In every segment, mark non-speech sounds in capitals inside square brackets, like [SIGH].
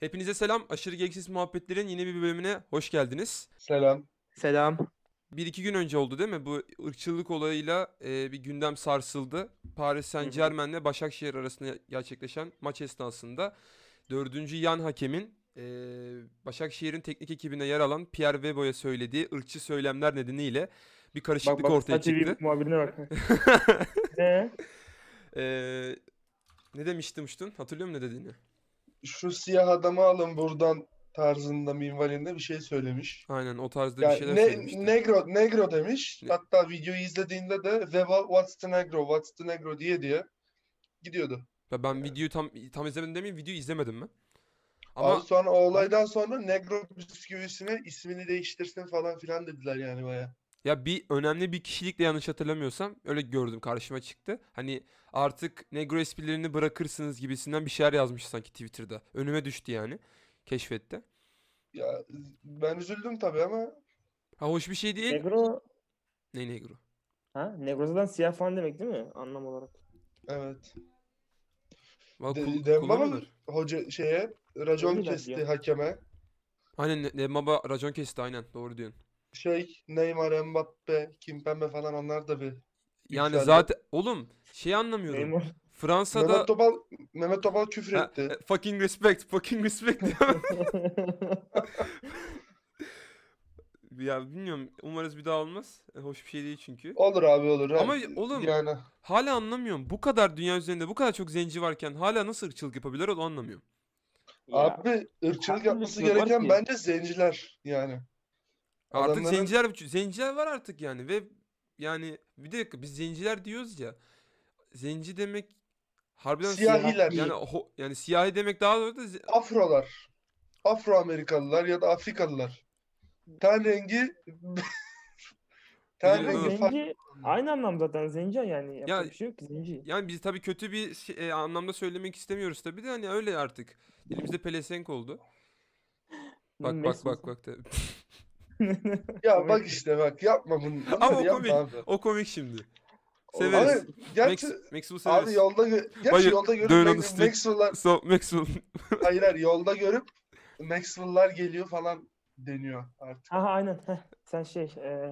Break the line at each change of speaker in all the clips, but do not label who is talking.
Hepinize selam. Aşırı Gereksiz Muhabbetlerin yeni bir bölümüne hoş geldiniz.
Selam.
Selam.
Bir iki gün önce oldu değil mi? Bu ırkçılık olayıyla e, bir gündem sarsıldı. Paris Saint Germain'le Başakşehir arasında gerçekleşen maç esnasında dördüncü yan hakemin e, Başakşehir'in teknik ekibine yer alan Pierre Webo'ya söylediği ırkçı söylemler nedeniyle bir karışıklık
Bak bak
ortaya
Star TV
çıktı.
muhabirine bak. Ee,
E, ne demiştim Uçtun? Hatırlıyor musun ne dediğini?
şu siyah adamı alın buradan tarzında minvalinde bir şey söylemiş.
Aynen o tarzda bir
Yani
şeyler
ne,
söylemişti.
negro, negro demiş.
Ne-
Hatta videoyu izlediğinde de Veba what's the negro, what's the negro diye diye gidiyordu.
Ya ben videoyu tam tam izlemedim demeyeyim videoyu izlemedim ben. Ama
Ama... sonra o olaydan sonra negro bisküvisine ismini değiştirsin falan filan dediler yani baya.
ya bir önemli bir kişilikle yanlış hatırlamıyorsam öyle gördüm karşıma çıktı. Hani artık negro esprilerini bırakırsınız gibisinden bir şeyler yazmış sanki Twitter'da. Önüme düştü yani keşfette.
Ya ben üzüldüm tabii ama
Ha hoş bir şey değil.
Negro
Ne negro?
ha Negro'dan siyah falan demek değil mi anlam olarak?
evet.
Valla
De,
kul-
Demba mı
kullanıyorlar.
hoca şeye racon
Öyle bence
kesti
ya.
hakeme.
Aynen Ne- Dembaba racon kesti aynen doğru diyorsun.
Şey Neymar, Mbappe, Kimpembe falan onlar da bir.
Yani
Yükseldi.
zaten oğlum şey anlamıyorum.
Neymar.
Fransa'da
Mehmet Topal Mehmet Topal küfür
Ha,
etti.
e, fucking respect fucking respect [LAUGHS] ya bilmiyorum umarız bir daha olmaz. E, Hoş bir şey değil çünkü.
Olur abi olur.
Ama
Abi,
oğlum-
yani
Hala anlamıyorum. Bu kadar dünya üzerinde bu kadar çok zenci varken hala nasıl ırkçılık yapabilir onu anlamıyorum.
Ya,
abi ırkçılık
haklı
yapması
diyorlar
gereken
ki-
bence zenciler yani.
Artık
Adamların-
zenciler zenciler var artık yani ve yani bir dakika biz zenciler diyoruz ya. Zenci demek harbiden
Siyahiler.
yani ho- yani siyahi demek daha doğru da ze-
Afrolar. Afro Amerikalılar ya da Afrikalılar. Ten rengi [LAUGHS] ten
Biri-
rengi farklı.
Zenci aynı anlam zaten zenci yani yapacak
Ya-
bir şey yok ki zenci.
yani biz tabii kötü bir şey- e, anlamda söylemek istemiyoruz tabii de hani öyle artık. Dilimizde pelesenk oldu. Bak bak
Mesut.
bak bak da. [LAUGHS]
Ya
Komik.
bak işte bak yapma bunu.
[LAUGHS] Ama o
Bunları yapma
komik.
abi.
O komik şimdi.
Oğlum,
Severiz.
Abi gerçi
Max, Maxwell severiz.
abi yolda gö- gerçi
Hayır,
yolda görüp
Dön on
Max-
the street.
Maxwell'lar
So Maxwell.
hayır hayır yolda görüp Maxwell'lar geliyor falan deniyor artık.
Ha ha, aynen. Heh, sen şey e,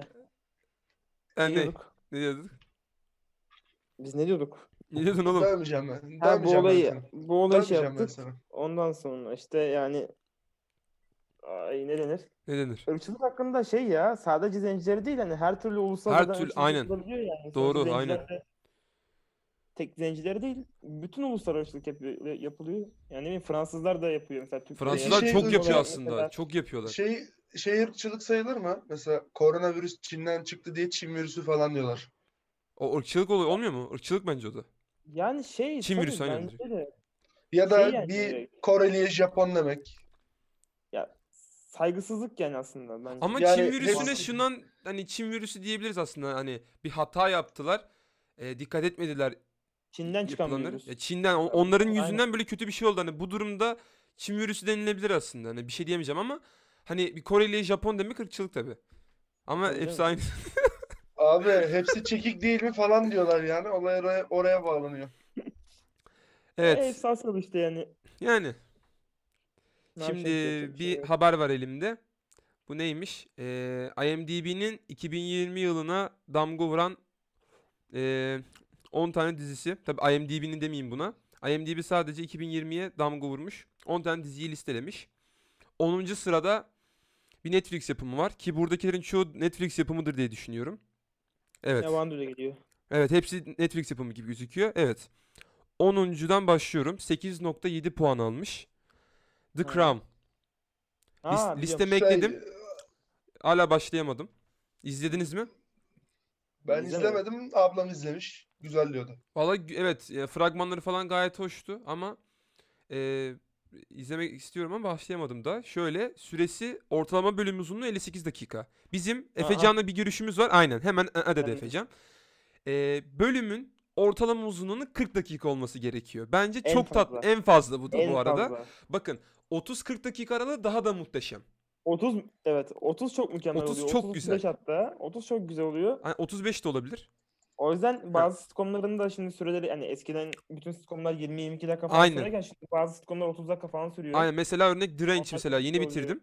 Yani [LAUGHS] ne?
ne diyorduk?
Ne diyorduk?
Biz ne diyorduk?
Ne diyordun oğlum?
Dövmeyeceğim ben. Dövmeyeceğim
Ha bu
ben
olayı
sana.
bu olayı şey
Dövmeyeceğim ben
yaptık.
sana.
Ondan sonra işte yani ay ne denir?
Ne denir?
Irkçılık hakkında şey ya sadece zencileri değil hani her türlü ulusal
Her
zaten
türlü,
ırkçılık
aynen.
yapılabiliyor yani. Sadece
Doğru,
zenciler
aynen.
de- Tek zencileri değil bütün uluslararası ırkçılık yapı- yapılıyor. Yani ne bileyim, Fransızlar da yapıyor mesela Türkler
Fransızlar
şey
çok
duymadım
yapıyor
ya
aslında.
mesela.
Çok yapıyorlar.
Şey, şey ırkçılık sayılır mı? Mesela koronavirüs Çin'den çıktı diye Çin virüsü falan diyorlar.
O ırkçılık oluyor olmuyor mu? Irkçılık bence o da.
Yani şey
Çin
tabii
virüsü, aynen
bence de
Ya da
Şey yani
bir
direkt.
Koreli'ye Japon demek.
ya saygısızlık yani aslında bence.
Ama
Yani
Çin virüsüne
hepsi-
şundan hani Çin virüsü diyebiliriz aslında. Hani bir hata yaptılar. E, dikkat etmediler
Çin'den çıkan bir
yapılanları.
virüs. E,
Ya Çin'den on- onların
Aynen.
yüzünden böyle kötü bir şey oldu. Hani bu durumda Çin virüsü denilebilir aslında. Hani bir şey diyemeyeceğim ama hani bir Koreli Japon demek ırkçılık tabii. Ama
Tabii
hepsi
canım.
aynı. [LAUGHS]
Abi hepsi çekik değil mi falan diyorlar yani. Olay oraya, oraya bağlanıyor.
evet.
E, esasında işte yani.
Yani
Ne yapacak,
Şimdi
yapacak
bir
şey yok.
haber var elimde. Bu neymiş? Ee, IMDb'nin 2020 yılına damga vuran ee, 10 tane dizisi. Tabii IMDb'nin demeyeyim buna. IMDb sadece 2020'ye damga vurmuş. 10 tane diziyi listelemiş. 10. sırada bir Netflix yapımı var ki buradakilerin çoğu Netflix yapımıdır diye düşünüyorum. Evet.
Yabancı da geliyor.
Evet hepsi Netflix yapımı gibi gözüküyor. Evet. 10.'dan başlıyorum. 8.7 puan almış. The
Ha.
Crown.
Aa,
Lis-
biliyorum.
listeme ekledim. Hala başlayamadım. İzlediniz mi?
Ben
İzlemedim.
izlemedim. Ablam izlemiş. Güzel diyordu.
Valla gü- evet e, fragmanları falan gayet hoştu ama e, izlemek istiyorum ama başlayamadım da. Şöyle süresi ortalama bölüm uzunluğu 58 dakika. Bizim Efecan'la bir görüşümüz var. Aynen hemen ı- ı dedi
Ben-
Efecan. E, bölümün ortalama uzunluğunun 40 dakika olması gerekiyor. Bence
En
çok tatlı.
fazla.
En fazla bu da
En
bu arada.
fazla.
Bakın 30-40 dakika aralığı daha da muhteşem.
30 evet 30 çok mükemmel
30
oluyor.
çok
35
güzel.
hatta. 30 çok güzel oluyor.
Hani 35 de olabilir.
O yüzden bazı sitcomların da şimdi süreleri hani eskiden bütün sitcomlar 20-22 dakika falan
Aynen.
sürerken şimdi bazı sitcomlar 30 dakika falan sürüyor.
Aynen mesela örnek Drench
Ortak
mesela yeni
oluyor.
bitirdim.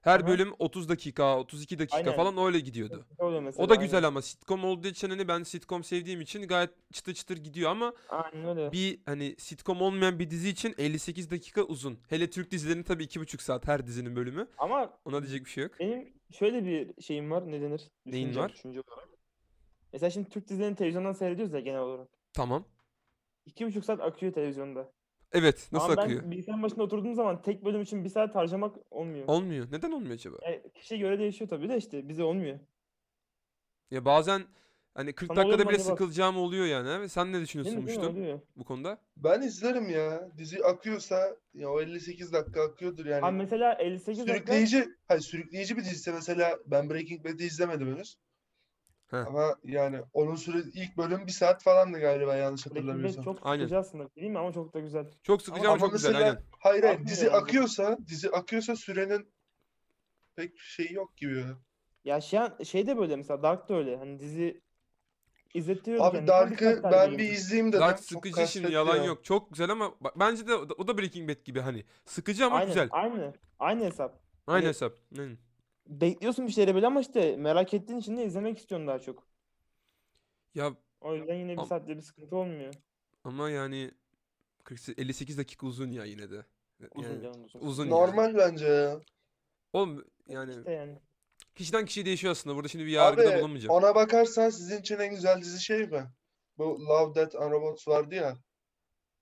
Her
Aha.
bölüm 30 dakika, 32 dakika
Aynen.
falan öyle gidiyordu.
Ne Şey oluyor mesela?
O da
aynen.
güzel ama sitcom olduğu için hani ben sitcom sevdiğim için gayet çıtır çıtır gidiyor ama
Aynen öyle.
bir hani sitcom olmayan bir dizi için 58 dakika uzun. Hele Türk dizilerinin tabii 2,5 saat her dizinin bölümü.
Ama
Ona diyecek bir şey yok.
benim şöyle bir şeyim var. Ne denir?
Neyin
Düşüncem,
var?
Düşünce olarak. Mesela şimdi Türk dizilerini televizyondan seyrediyoruz ya genel olarak.
Tamam.
İki buçuk saat akıyor televizyonda.
Evet,
Ama
nasıl akıyor?
ben bilgisayarın başında oturduğum zaman tek bölüm için bir saat harcamak olmuyor.
Olmuyor. Neden olmuyor acaba?
Yani kişiye göre değişiyor tabii de işte bize olmuyor.
Ya bazen hani 40
Sana oluyor
dakikada
mu
bile
acaba?
sıkılacağım oluyor yani. Sen ne
Değil
düşünüyorsun
mi? Değil mi?
Muştu
Oluyor.
bu konuda?
Ben izlerim ya. Dizi akıyorsa ya o 58 dakika akıyordur yani.
Abi mesela 58 dakika
sürükleyici, hayır sürükleyici bir diziyse mesela ben Breaking Bad'i izlemedim henüz.
He.
Ama yani onun süre ilk bölüm bir saat falandı galiba yanlış
Breaking Bad
hatırlamıyorsam.
çok
Aynen.
sıkıcı aslında değil mi? Ama çok da güzel.
Çok sıkıcı ama,
Ama
çok güzel
mesela-
aynen.
Hayır hayır
Akmıyor
dizi
yani.
akıyorsa dizi akıyorsa sürenin pek şeyi yok gibi. ya.
Ya şey, şey de böyle mesela Dark da öyle. Hani dizi izlettiriyor.
Abi Dark'ı ben bir izleyeyim dedim.
Dark
Çok
sıkıcı şimdi yalan
kastetmiyor.
yok. Çok güzel ama ba- bence de o da- o da Breaking Bad gibi hani. Sıkıcı ama
Aynen,
güzel.
Aynı. Aynı hesap.
Aynı
Hani-
hesap. Aynen.
Bekliyorsun bir şeyleri böyle ama işte merak ettiğin için de izlemek istiyorsun daha çok.
Ya
O yüzden yine bir
Am-
saatte bir sıkıntı olmuyor.
ama yani 48 58 dakika uzun ya yine de.
Uzun
Yani
canım uzun.
uzun yani.
Normal bence ya.
Oğlum yani
İşte yani.
kişiden kişiye değişiyor aslında. Burada şimdi bir
Abi
yargıda bulunmayacağım.
ona bakarsan sizin için en güzel dizi şey mi? Bu Love, Death and Robots vardı ya.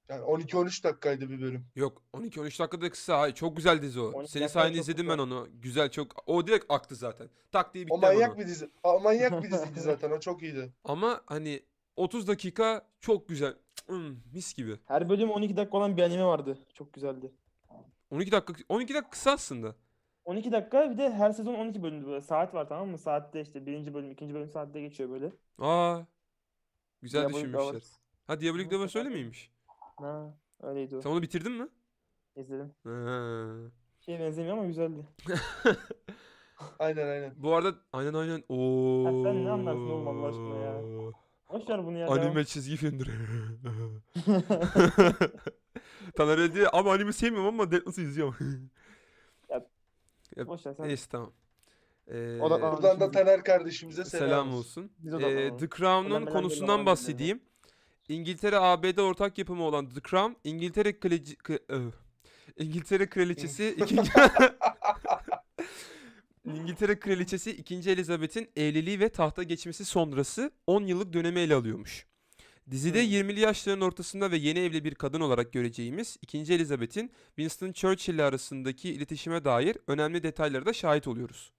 Yani 12-13 dakikaydı bir bölüm.
Yok 12-13 dakikada kısa. Hayır çok güzel dizi o.
12
Senin
dakika
sayende
çok
izledim
kısa.
ben onu. Güzel çok. O direkt aktı zaten. Tak diye bitti
O
hemen o.
manyak bir dizi. O manyak
[LAUGHS]
bir diziydi zaten. O çok iyiydi.
Ama hani 30 dakika çok güzel. Hmm, mis gibi.
Her bölüm 12 dakika olan bir anime vardı. Çok güzeldi.
12 dakika 12 dakika kısa aslında.
12 dakika bir de her sezon 12 bölümdü böyle. Saat var tamam mı? Saatte işte birinci bölüm, ikinci bölüm saatte geçiyor böyle.
Aa. Güzel
Diabolic
düşünmüşler.
Hours.
Ha Diabolic
Ama
Devil
sefer
öyle
de-
miymiş?
Ha, öyleydi o.
Sen onu bitirdin mi?
İzledim.
Ha.
Şeye benzemiyor ama güzeldi.
Aynen aynen.
Bu arada aynen aynen. Oo.
sen ne anlarsın oğlum Allah aşkına ya? Boş ver bunu ya. devam.
Anime çizgi
[LAUGHS]
filmdir. [LAUGHS] Taner öyle diyor ama anime sevmiyorum ama Death Note'u izliyorum. [LAUGHS]
Boş ver sen.
Neyse tamam. Ee,
Odaklan-
Buradan da Taner kardeşimize
selam,
selam,
olsun.
Biz de
Ee,
odaklanalım.
The Crown'un
Ondan merak ediyorum,
konusundan
merak ediyorum ya.
bahsedeyim. İngiltere ABD ortak yapımı olan The Crown, İngiltere kaleci, k- ö. İngiltere Kraliçesi 2. İngiltere Kraliçesi 2. Elizabeth'in evliliği ve tahta geçmesi sonrası 10 yıllık dönemi ele alıyormuş. Dizide
Hmm.
20'li yaşların ortasında ve yeni evli bir kadın olarak göreceğimiz 2. Elizabeth'in Winston Churchill ile arasındaki iletişime dair önemli detaylara da şahit oluyoruz.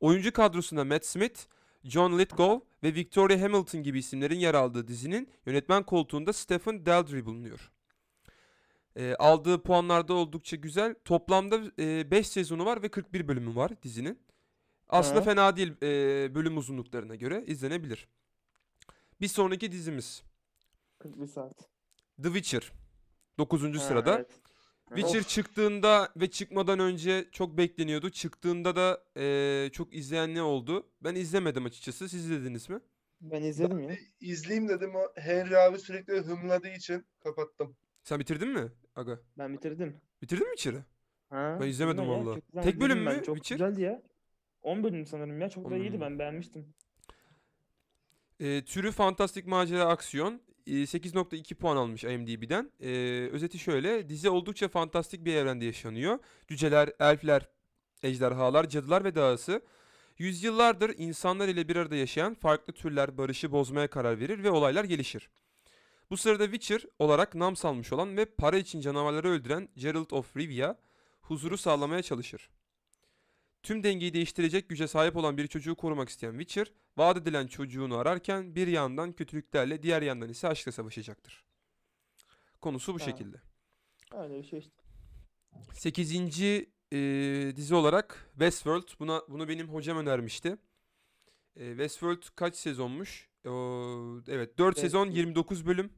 Oyuncu kadrosunda Matt Smith, John Lithgow ve Victoria Hamilton gibi isimlerin yer aldığı dizinin yönetmen koltuğunda Stephen Daldry bulunuyor. Ee, aldığı puanlarda oldukça güzel. Toplamda 5 sezonu var ve 41 bölümü var dizinin. Aslında
Hı.
fena değil e, bölüm uzunluklarına göre izlenebilir. Bir sonraki dizimiz
41 saat.
The Witcher. 9.
Ha,
sırada.
evet.
Witcher çıktığında ve çıkmadan önce çok bekleniyordu. Çıktığında da eee, çok izleyenli oldu. Ben izlemedim açıkçası. Siz izlediniz mi?
Ben izledim ya.
İzleyeyim dedim o Henry abi sürekli hımladığı için kapattım.
Sen bitirdin mi? Aga.
Ben bitirdim.
Bitirdin mi içeri?
Ha,
Ben izlemedim
bilmem ya,
vallahi.
çok güzel,
Tek bölüm
izledim ben.
mü
Çok
Witcher? Hmm.
güzeldi ya. 10 bölüm sanırım ya. Çok
10
da iyiydi
bölüm.
ben beğenmiştim.
Eee, E, türü fantastik macera aksiyon. e, Eee, 8.2 puan almış IMDb'den. Eee, E, özeti şöyle. Dizi oldukça fantastik bir evrende yaşanıyor. Cüceler, elfler, ejderhalar, cadılar ve dahası. Yüzyıllardır insanlar ile bir arada yaşayan farklı türler barışı bozmaya karar verir ve olaylar gelişir. Bu sırada Witcher olarak nam salmış olan ve para için canavarları öldüren Geralt of Rivia huzuru sağlamaya çalışır. Tüm dengeyi değiştirecek güce sahip olan bir çocuğu korumak isteyen Witcher, vaat edilen çocuğunu ararken bir yandan kötülüklerle diğer yandan ise aşkla savaşacaktır. Konusu bu
Ha.
şekilde.
Öyle bir şey işte.
8. eee, dizi olarak Westworld. Buna bunu benim hocam önermişti. Eee, Westworld kaç sezonmuş? Oo, evet 4 sezon
Westworld.
29 bölüm.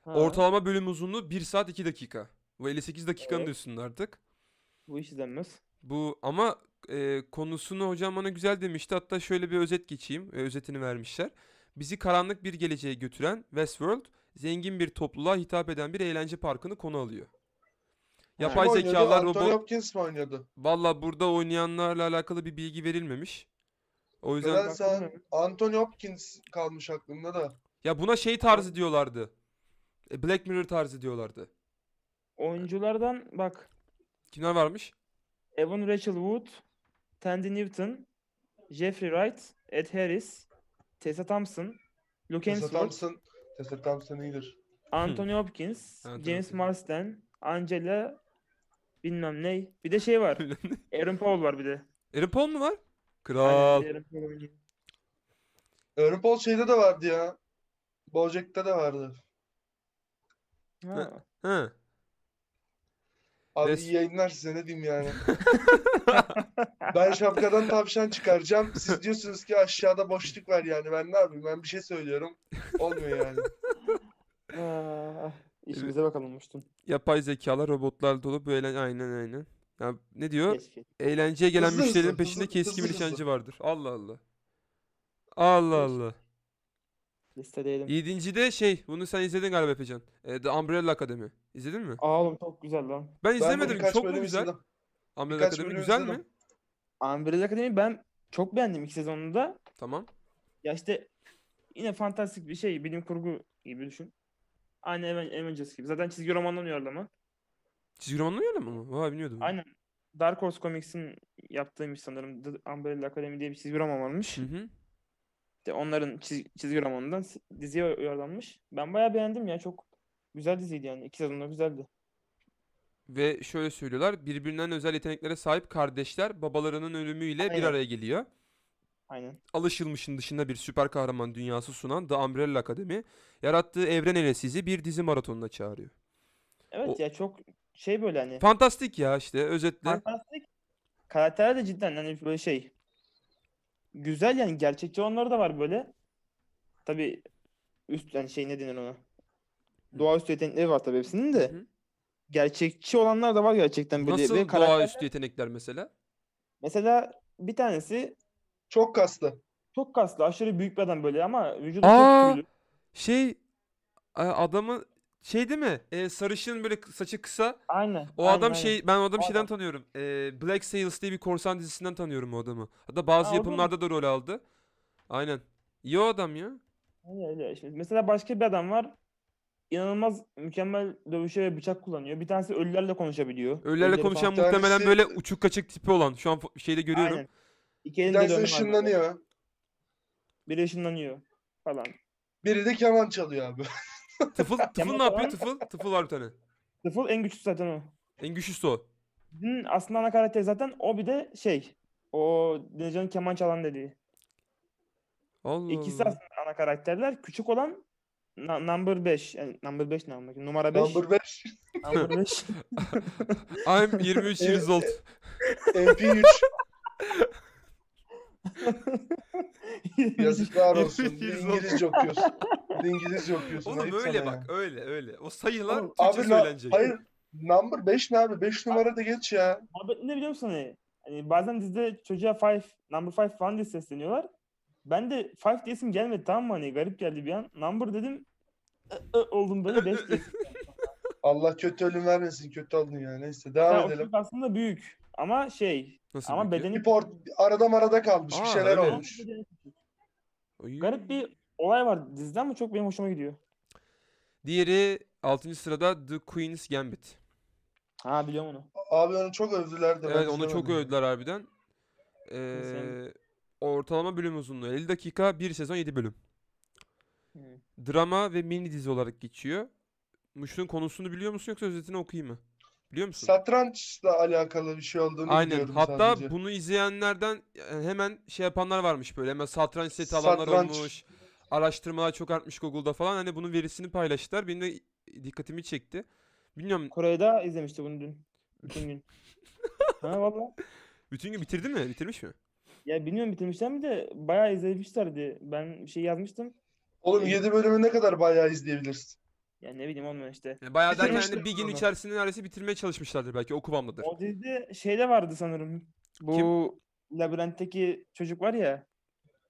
Ha,
Ortalama bölüm uzunluğu 1 saat 2 dakika. Bu 58 dakikanın da
Evet.
üstünde artık.
Bu iş izlenmez.
Bu ama e, konusunu hocam bana güzel demişti. Hatta şöyle bir özet geçeyim. e, özetini vermişler. Bizi karanlık bir geleceğe götüren Westworld, zengin bir topluluğa hitap eden bir eğlence parkını konu alıyor. Yapay
Kim oynuyordu?
zekalar
Anthony
robot...
Hopkins mi oynuyordu?
Valla burada oynayanlarla alakalı bir bilgi verilmemiş. O yüzden...
Neden
baktın
sen
mı?
Anthony Hopkins kalmış aklımda da.
Ya buna şey tarzı diyorlardı. E, Black Mirror tarzı diyorlardı.
Oyunculardan bak
Kimler varmış?
Evan Rachel Wood, Tandy Newton, Jeffrey Wright, Ed Harris, Tessa Thompson, Luke
Tessa
Hemsworth,
Thompson. Tessa Thompson iyidir.
Anthony Hopkins,
Hmm. Anthony
James
Hopkins.
Marsden, Angela bilmem ne. Bir de
[LAUGHS]
şey var. Aaron Paul var bir de.
Aaron Paul mu var?
Aynen,
Kral.
bir de Aaron Paul oynuyor.
Aaron Paul şeyde de vardı ya. Bojack'ta da vardı.
Ha.
Hı.
Abi
Yes.
iyi yayınlar size ne
[LAUGHS]
diyeyim yani. ben şapkadan tavşan çıkaracağım. Siz diyorsunuz ki aşağıda boşluk var yani. Ben ne yapayım? Ben bir şey söylüyorum.
[LAUGHS]
Olmuyor yani.
Ah, işimize bakalım Muştum.
Yapay zekalar, robotlar dolu bu eğlen aynen aynen. Ya ne diyor?
Keşke.
Eğlenceye gelen
Hızlı
müşterinin
hızlı,
peşinde
hızlı,
keskin bir
hızlı hızlı.
nişancı vardır. Allah Allah. Allah
Keşke.
Allah.
Listeleyelim.
Yedinci de şey, bunu sen izledin galiba Efecan. E, The Umbrella Academy. İzledin mi?
Aa oğlum çok güzel lan.
Ben
bunu
izlemedim.
birkaç
Çok mu
bölüm
güzel?
izledim.
Umbrella
Birkaç
Academy
bölüm
güzel
izledim.
mi?
Umbrella Academy ben çok beğendim ilk sezonunda.
Tamam.
Ya işte yine fantastik bir şey. Bilim kurgu gibi düşün. Aynı Aven- Avengers gibi. Zaten çizgi romandan uyarlama.
Çizgi romanla öyle mi? Vay bilmiyordum.
Aynen. Dark Horse Comics'in yaptığıymış sanırım. The Umbrella Academy diye bir çizgi roman varmış.
Hı hı.
İşte onların çiz- çizgi romanından s- diziye uyarlanmış. Ben bayağı beğendim ya. Çok güzel diziydi yani. İki sezonda güzeldi.
Ve şöyle söylüyorlar. Birbirinden özel yeteneklere sahip kardeşler babalarının ölümüyle bir
Aynen.
araya geliyor.
Aynen.
Alışılmışın dışında bir süper kahraman dünyası sunan The Umbrella Academy yarattığı evren elesizi bir dizi maratonuna çağırıyor.
Evet
O-
ya çok şey böyle hani.
Fantastik ya işte özetle.
Fantastik. Karakterler de cidden hani böyle şey. Güzel yani gerçekçi onları da var böyle. Tabii üst yani şey ne denir ona? Doğaüstü yetenekleri var tabii hepsinin de.
Hı hı.
Gerçekçi olanlar da var gerçekten böyle.
Nasıl
Ve karakter-
doğaüstü yetenekler mesela?
Mesela bir tanesi
Çok kaslı.
çok kaslı, aşırı büyük bir adam böyle ama vücudu
Aa!
çok tüylü.
Şey a- adamı şey değil mi? Ee, sarışın böyle kı- saçı kısa.
Aynen.
O
aynen,
adam
aynen.
şey ben o adamı
O
şeyden
adam.
tanıyorum. Ee, Black Sails diye bir korsan dizisinden tanıyorum o adamı. Hatta bazı
Ha, o da mı?
yapımlarda da rol aldı. Aynen. İyi o adam ya.
Öyle, öyle. Şimdi mesela başka bir adam var. İnanılmaz mükemmel dövüşe ve bıçak kullanıyor. Bir tanesi ölülerle konuşabiliyor.
Ölülerle
Ölüleri
konuşan
falan-
Bir
muhtemelen
tanesi-
böyle uçuk kaçık tipi olan. Şu an fo- şeyde görüyorum.
Aynen. İki
Bir
elinde
tanesi
dövme var böyle.
ışınlanıyor.
Biri ışınlanıyor falan.
Biri de keman çalıyor abi.
Tıfıl,
[LAUGHS]
tıfıl ne
Kemal
yapıyor?
Doğan-
Tıfıl, tıfıl var bir tane.
Tıfıl en güçlü zaten o.
En güçlüsü o.
Dizinin aslında ana karakteri zaten o bir de şey. O Denizcan'ın keman çalan dediği.
Allah
İkisi
Allah.
aslında ana karakterler. Küçük olan na- number 5. Yani number 5 ne anlamak? Numara 5.
Number 5.
Number [LAUGHS] 5.
I'm 23
[LAUGHS]
years old.
MP3. Yazıklar olsun.
Yemin
Bir
ediyorum.
İngilizce okuyorsun. Bir İngilizce okuyorsun.
Oğlum
ayıp
öyle
sana
bak,
ya.
öyle öyle. O sayılar
Oğlum,
Türkçe
abi na-
söylenecek.
Hayır. Number 5 ne abi? 5 numara da geç ya.
Muhabbet ne biliyor musun hani? Hani bazen dizide çocuğa five, number five falan diye sesleniyorlar. Ben de five diye isim gelmedi tamam mı hani garip geldi bir an. Number dedim ı, ı oldum böyle beş diye.
Allah kötü ölüm vermesin. Kötü aldın ya. Neyse devam
Yani o
edelim.
çocuk aslında büyük ama şey
Nasıl
ama
peki?
bedeni
Bir port arada marada kalmış.
Aa,
bir şeyler
öyle.
olmuş.
Oy.
garip bir olay var dizide ama çok benim hoşuma gidiyor.
Diğeri 6. sırada The Queen's Gambit.
Ha biliyorum onu.
Abi onu çok övdüler de. ben
Evet onu çok
izlemedim.
övdüler harbiden.
sevmedim.
Ee, ortalama bölüm uzunluğu 50 dakika, 1 sezon 7 bölüm.
Hı.
Drama ve mini dizi olarak geçiyor. Muş'un konusunu biliyor musun yoksa özetini okuyayım mı? Biliyor musun?
Satrançla alakalı bir şey olduğunu
Aynen.
biliyorum
Hatta
sadece.
bunu izleyenlerden yani hemen şey yapanlar varmış böyle. Hemen satranç seti alanlar
Satranç.
olmuş. Araştırmalar çok artmış Google'da falan. Hani bunun verisini paylaştılar. Benim de dikkatimi çekti. Bilmiyorum
Kore'de izlemişti bunu dün. Bütün gün. ha valla.
bütün gün bitirdi mi? Bitirmiş mi?
Ya bilmiyorum bitirmişler mi de bayağı izlemişlerdi. Ben bir şey yazmıştım.
Oğlum 7 bölümü ne kadar bayağı izleyebilirsin?
Yani ne bileyim olmuyor işte.
Yani bayağı derken
Bitirmişler
hani bir gün
sonra.
içerisinde neredeyse bitirmeye çalışmışlardır belki. O kıvamdadır.
O dizide şey de vardı sanırım. Bu labirentteki çocuk var ya.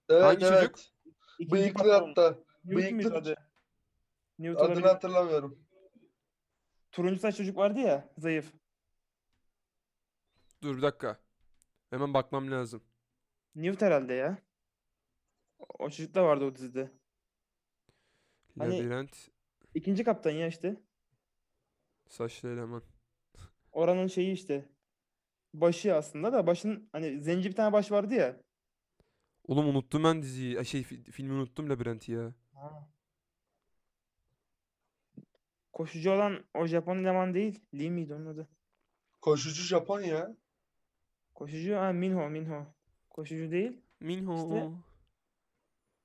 Evet,
Hangi
evet.
çocuk?
İkinci
Bıyıklı
patron.
hatta.
Newt
bıyıklı
muydu
ç-
adı? Newt
Adını
olabilir.
hatırlamıyorum.
Turuncu saç çocuk vardı ya zayıf.
Dur bir dakika. Hemen bakmam lazım.
Newt herhalde ya. O- O çocuk da vardı o dizide. Hani-
Labirent,
İkinci kaptan ya işte.
saçlı eleman.
Oranın şeyi işte. Başı aslında da başın hani zenci bir tane baş vardı ya.
Oğlum unuttum ben diziyi. Ay şey fi- filmi unuttum Labirent'i ya.
Koşucu olan o Japon eleman değil. Lee miydi onun adı?
Koşucu Japon ya.
Koşucu ha Minho Minho. Koşucu değil.
Minho.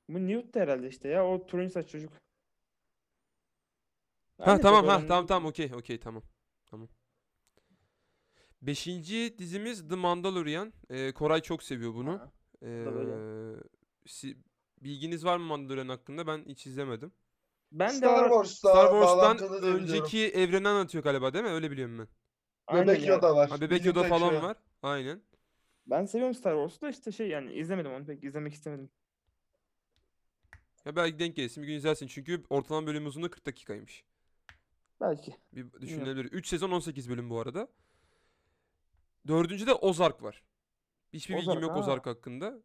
Bu Newt da herhalde işte ya. O turuncu saç çocuk.
Ha
Aynı şey
tamam
çok
ha
önemli
tamam
değil.
tamam okey okey tamam. Tamam. Beşinci dizimiz The Mandalorian. Ee, Koray çok seviyor bunu.
Ha, da böyle.
Ee, si- bilginiz var mı Mandalorian hakkında? Ben hiç izlemedim.
Ben de
Star
var.
Wars'la
Star Wars'tan
bağlantılı diye biliyorum.
önceki evreni anlatıyor galiba değil mi? Öyle biliyorum ben.
Aynen
Bebek
ya.
Yoda var. şey-
Ha, Bebek
Bilim
Yoda falan
kaçıyor.
var. Aynen.
Ben seviyorum Star Wars'u da işte şey yani izlemedim onu pek izlemek istemedim.
Ya belki denk gelsin bir gün izlersin. Çünkü ortalama bölüm uzunluğu 40 dakikaymış.
Belki.
Bir düşünülebilir. 3 sezon 18 bölüm bu arada. Dördüncü de Ozark var. Hiçbir bilgim
Ozark,
yok
ha.
Ozark hakkında.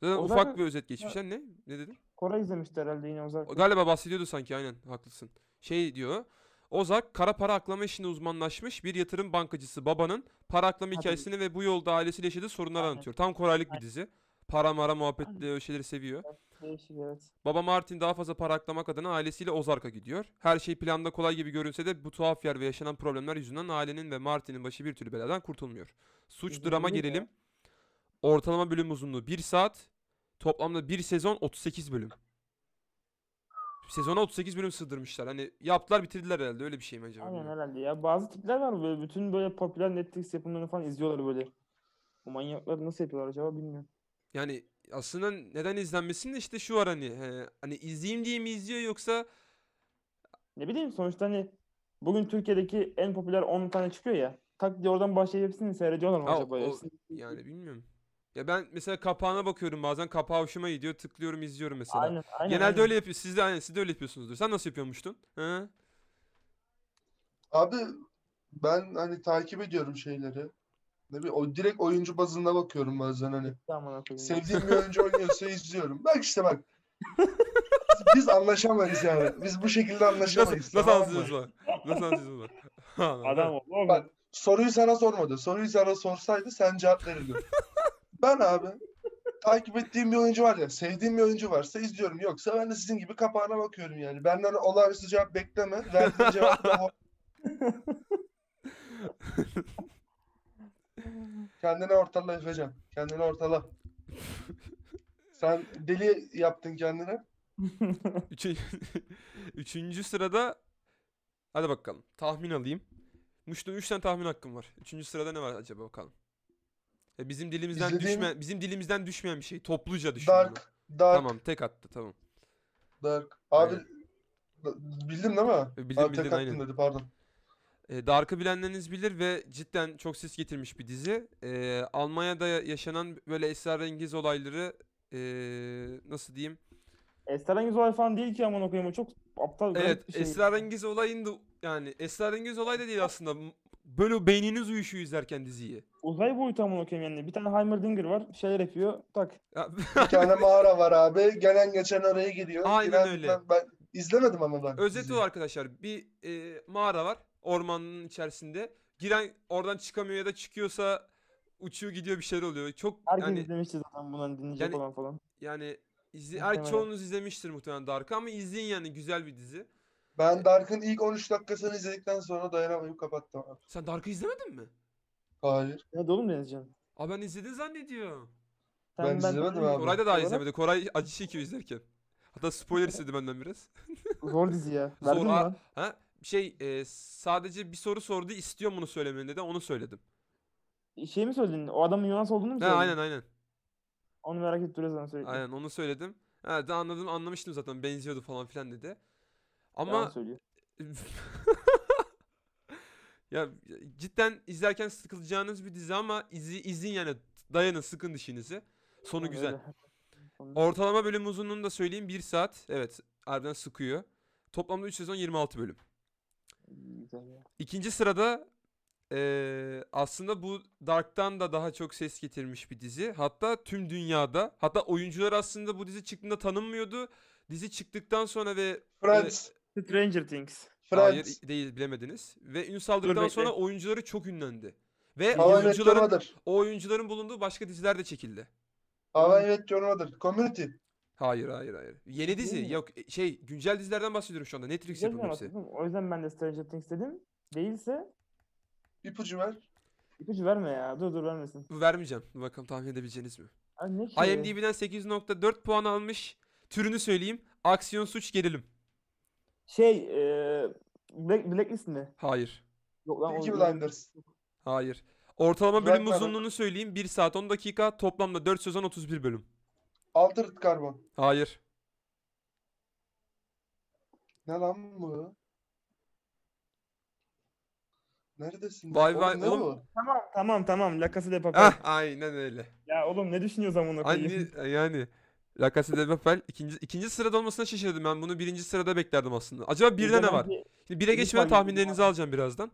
Zaten
Ozark-
ufak bir özet geçmişten ne? Ne dedin?
Koray izlemişti herhalde yine uzak.
Galiba bahsediyordu sanki aynen haklısın. Şey diyor. Ozark kara para aklama işinde uzmanlaşmış bir yatırım bankacısı babanın para aklama
Hadi.
hikayesini ve bu yolda ailesiyle yaşadığı sorunları
Aynen.
anlatıyor. Tam Koraylık bir dizi. Para mara muhabbetli öyle şeyleri seviyor.
Değişik evet.
Baba Martin daha fazla para aklamak adına ailesiyle Ozark'a gidiyor. Her şey planda kolay gibi görünse de bu tuhaf yer ve yaşanan problemler yüzünden ailenin ve Martin'in başı bir türlü beladan kurtulmuyor. Suç
İzledim
drama
değil mi ya?
gerilim. Ortalama bölüm uzunluğu 1 saat. Toplamda bir sezon 38 bölüm. Sezona 38 bölüm sığdırmışlar. Hani yaptılar bitirdiler herhalde öyle bir şey mi acaba?
Aynen
bilmiyorum.
herhalde ya. Bazı tipler var böyle bütün böyle popüler Netflix yapımlarını falan izliyorlar böyle. Bu manyaklar nasıl yapıyorlar acaba bilmiyorum.
Yani aslında neden izlenmesinin de işte şu var hani. he, hani izleyeyim diye mi izliyor yoksa
Ne bileyim sonuçta hani bugün Türkiye'deki en popüler 10 tane çıkıyor ya. Tak diye oradan başlayıp hepsini seyrediyorlar mı
Ha,
acaba?
o-
Hepsini-
yani bilmiyorum. Ya ben mesela kapağına bakıyorum bazen kapağı hoşuma gidiyor tıklıyorum izliyorum mesela.
Aynen, aynen,
Genelde
aynen.
öyle yapıyor. Siz de aynen siz de öyle yapıyorsunuzdur. Sen nasıl yapıyormuştun? Hı?
Abi ben hani takip ediyorum şeyleri. Ne bir o direkt oyuncu bazında bakıyorum bazen hani.
Aman koyayım.
Sevdiğim bir oyuncu oynuyorsa şey izliyorum. Bak işte bak. Biz, biz anlaşamayız yani. Biz bu şekilde
Nasıl
anlaşamayız.
nasıl
tamam mı?
anlatıyorsunuz bunu? Nasıl anlatıyorsunuz bunu?
[LAUGHS]
Ha,
Adam
ha.
oldu oğlum.
Bak, Soruyu sana sormadı. Soruyu sana sorsaydı sen cevap verirdin. ben abi takip ettiğim bir oyuncu var ya, sevdiğim bir oyuncu varsa izliyorum. Yoksa ben de sizin gibi kapağına bakıyorum yani. Benden olağanüstü cevap bekleme. Verdiğin cevap daha... Kendini ortala Efecan. Kendini ortala. Sen deli yaptın kendini.
Üçüncü, [LAUGHS] üçüncü sırada hadi bakalım. Tahmin alayım. Muş'ta 3 tane tahmin hakkım var. Üçüncü sırada ne var acaba bakalım. Ya bizim dilimizden
İzlediğim-
düşmeyen bizim dilimizden düşmeyen bir şey. Topluca düşün bunu.
Dark, dark,
Tamam tek attı tamam.
dark. Abi
Aynen.
bildim değil mi?
Bildim
Abi
bildin,
tek attın
aynen.
dedi pardon.
E, Dark'ı bilenleriniz bilir ve cidden çok ses getirmiş bir dizi. E, Almanya'da ya- yaşanan böyle esrarengiz olayları e, nasıl diyeyim?
Esrarengiz olay falan değil ki aman koyayım o çok aptal garip bir
Evet,
şey.
esrarengiz olayın da yani esrarengiz olay da değil aslında. M- Böyle beyniniz uyuşuyor izlerken diziyi.
Uzay boyutu aman koyayım yani. Bir tane Heimerdinger var. Bir şeyler yapıyor. Tak.
Ya, [LAUGHS]
Bir tane mağara var abi. Gelen geçen oraya giriyor.
Aynen
Giren-
öyle.
Ben, ben izlemedim ama ben.
Özet
diziyi.
o arkadaşlar. Bir e, mağara var ormanın içerisinde. Giren oradan çıkamıyor ya da çıkıyorsa uçuyor gidiyor bir şeyler oluyor. Çok
Herkes
yani
izlemişti zaten bunu hani dinleyecek
yani-
olan falan.
yani izle,
Muhtemelen.
her çoğunuz izlemiştir muhtemelen Dark'ı ama izleyin yani güzel bir dizi.
Ben Dark'ın ilk 13 dakikasını izledikten sonra dayanamayıp kapattım abi.
Sen Dark'ı izlemedin mi?
Hayır.
Ne de oğlum Denizcan?
Aa ben izledin zannediyorum.
Sen
Ben izlemedim
tanıyorum.
abi.
Koray da daha
olarak
izlemedi. Koray acı çekiyor izlerken. Hatta spoiler istedi benden biraz.
[LAUGHS] Zor dizi ya.
Zor,
Verdin mi
ha.
lan?
Ha? Şey e, sadece bir soru sordu istiyor bunu söylemeni dedi onu söyledim.
Şey mi söyledin? O adamın Yunan olduğunu mu
Ha,
söyledin?
aynen aynen.
Onu merak et duruyor sana sürekli.
Aynen onu söyledim. Ha, da anladım anlamıştım zaten benziyordu falan filan dedi.
Yalan
Ama
söylüyor.
[LAUGHS] ya cidden izlerken sıkılacağınız bir dizi ama izi, izin yani dayanın sıkın dişinizi. Sonu
Aynen
güzel.
öyle. konuda.
Ortalama bölüm uzunluğunu da söyleyeyim. 1 saat. Evet. Harbiden sıkıyor. Toplamda 3 sezon 26 bölüm.
[LAUGHS] Güzel ya.
İkinci sırada eee, aslında bu Dark'tan da daha çok ses getirmiş bir dizi. Hatta tüm dünyada. Hatta oyuncular aslında bu dizi çıktığında tanınmıyordu. Dizi çıktıktan sonra ve
Friends.
Stranger Things.
hayır
Friends.
değil bilemediniz. Ve ün saldıktan
bekle.
sonra oyuncuları çok ünlendi. Ve
Hava
How I Met Your
oyuncuların,
Mother.
o oyuncuların bulunduğu başka diziler de çekildi.
How I Met Your Mother. Community.
Hayır hayır hayır. Yeni dizi.
mi?
Yok e, şey güncel dizilerden bahsediyorum şu anda. Netflix
Güzel bir
yapımı
anlattı,
hepsi.
değil mi? O yüzden ben de Stranger Things dedim. Değilse
İpucu ver.
ipucu verme ya. Dur dur vermesin.
Bu vermeyeceğim. Dur bakalım tahmin edebileceğiniz mi?
Abi ne ki?
IMDb'den 8.4 puan almış. Türünü söyleyeyim. Aksiyon suç gerilim.
Şey e, Black, Blacklist mi?
Hayır.
Yok lan o-
Peaky Blinders.
Hayır. Ortalama bölüm
Bırakmadım.
uzunluğunu söyleyeyim. 1 saat 10 dakika. Toplamda 4 sezon 31 bölüm.
Altered Carbon.
Hayır.
Ne lan bu? Neredesin?
Vay vay,
ne
oğlum.
bu?
Tamam tamam tamam. La Casa de Papel.
Ah aynen öyle.
Ya oğlum ne düşünüyorsun amına koyayım?
Anne yani La Casa de Papel ikinci, ikinci sırada olmasına şaşırdım ben. Bunu birinci sırada beklerdim aslında. Acaba birde ne var?
Bence-
Şimdi 1'e
bir
geçmeden
saniye, bir
tahminlerinizi
saniye.
alacağım birazdan.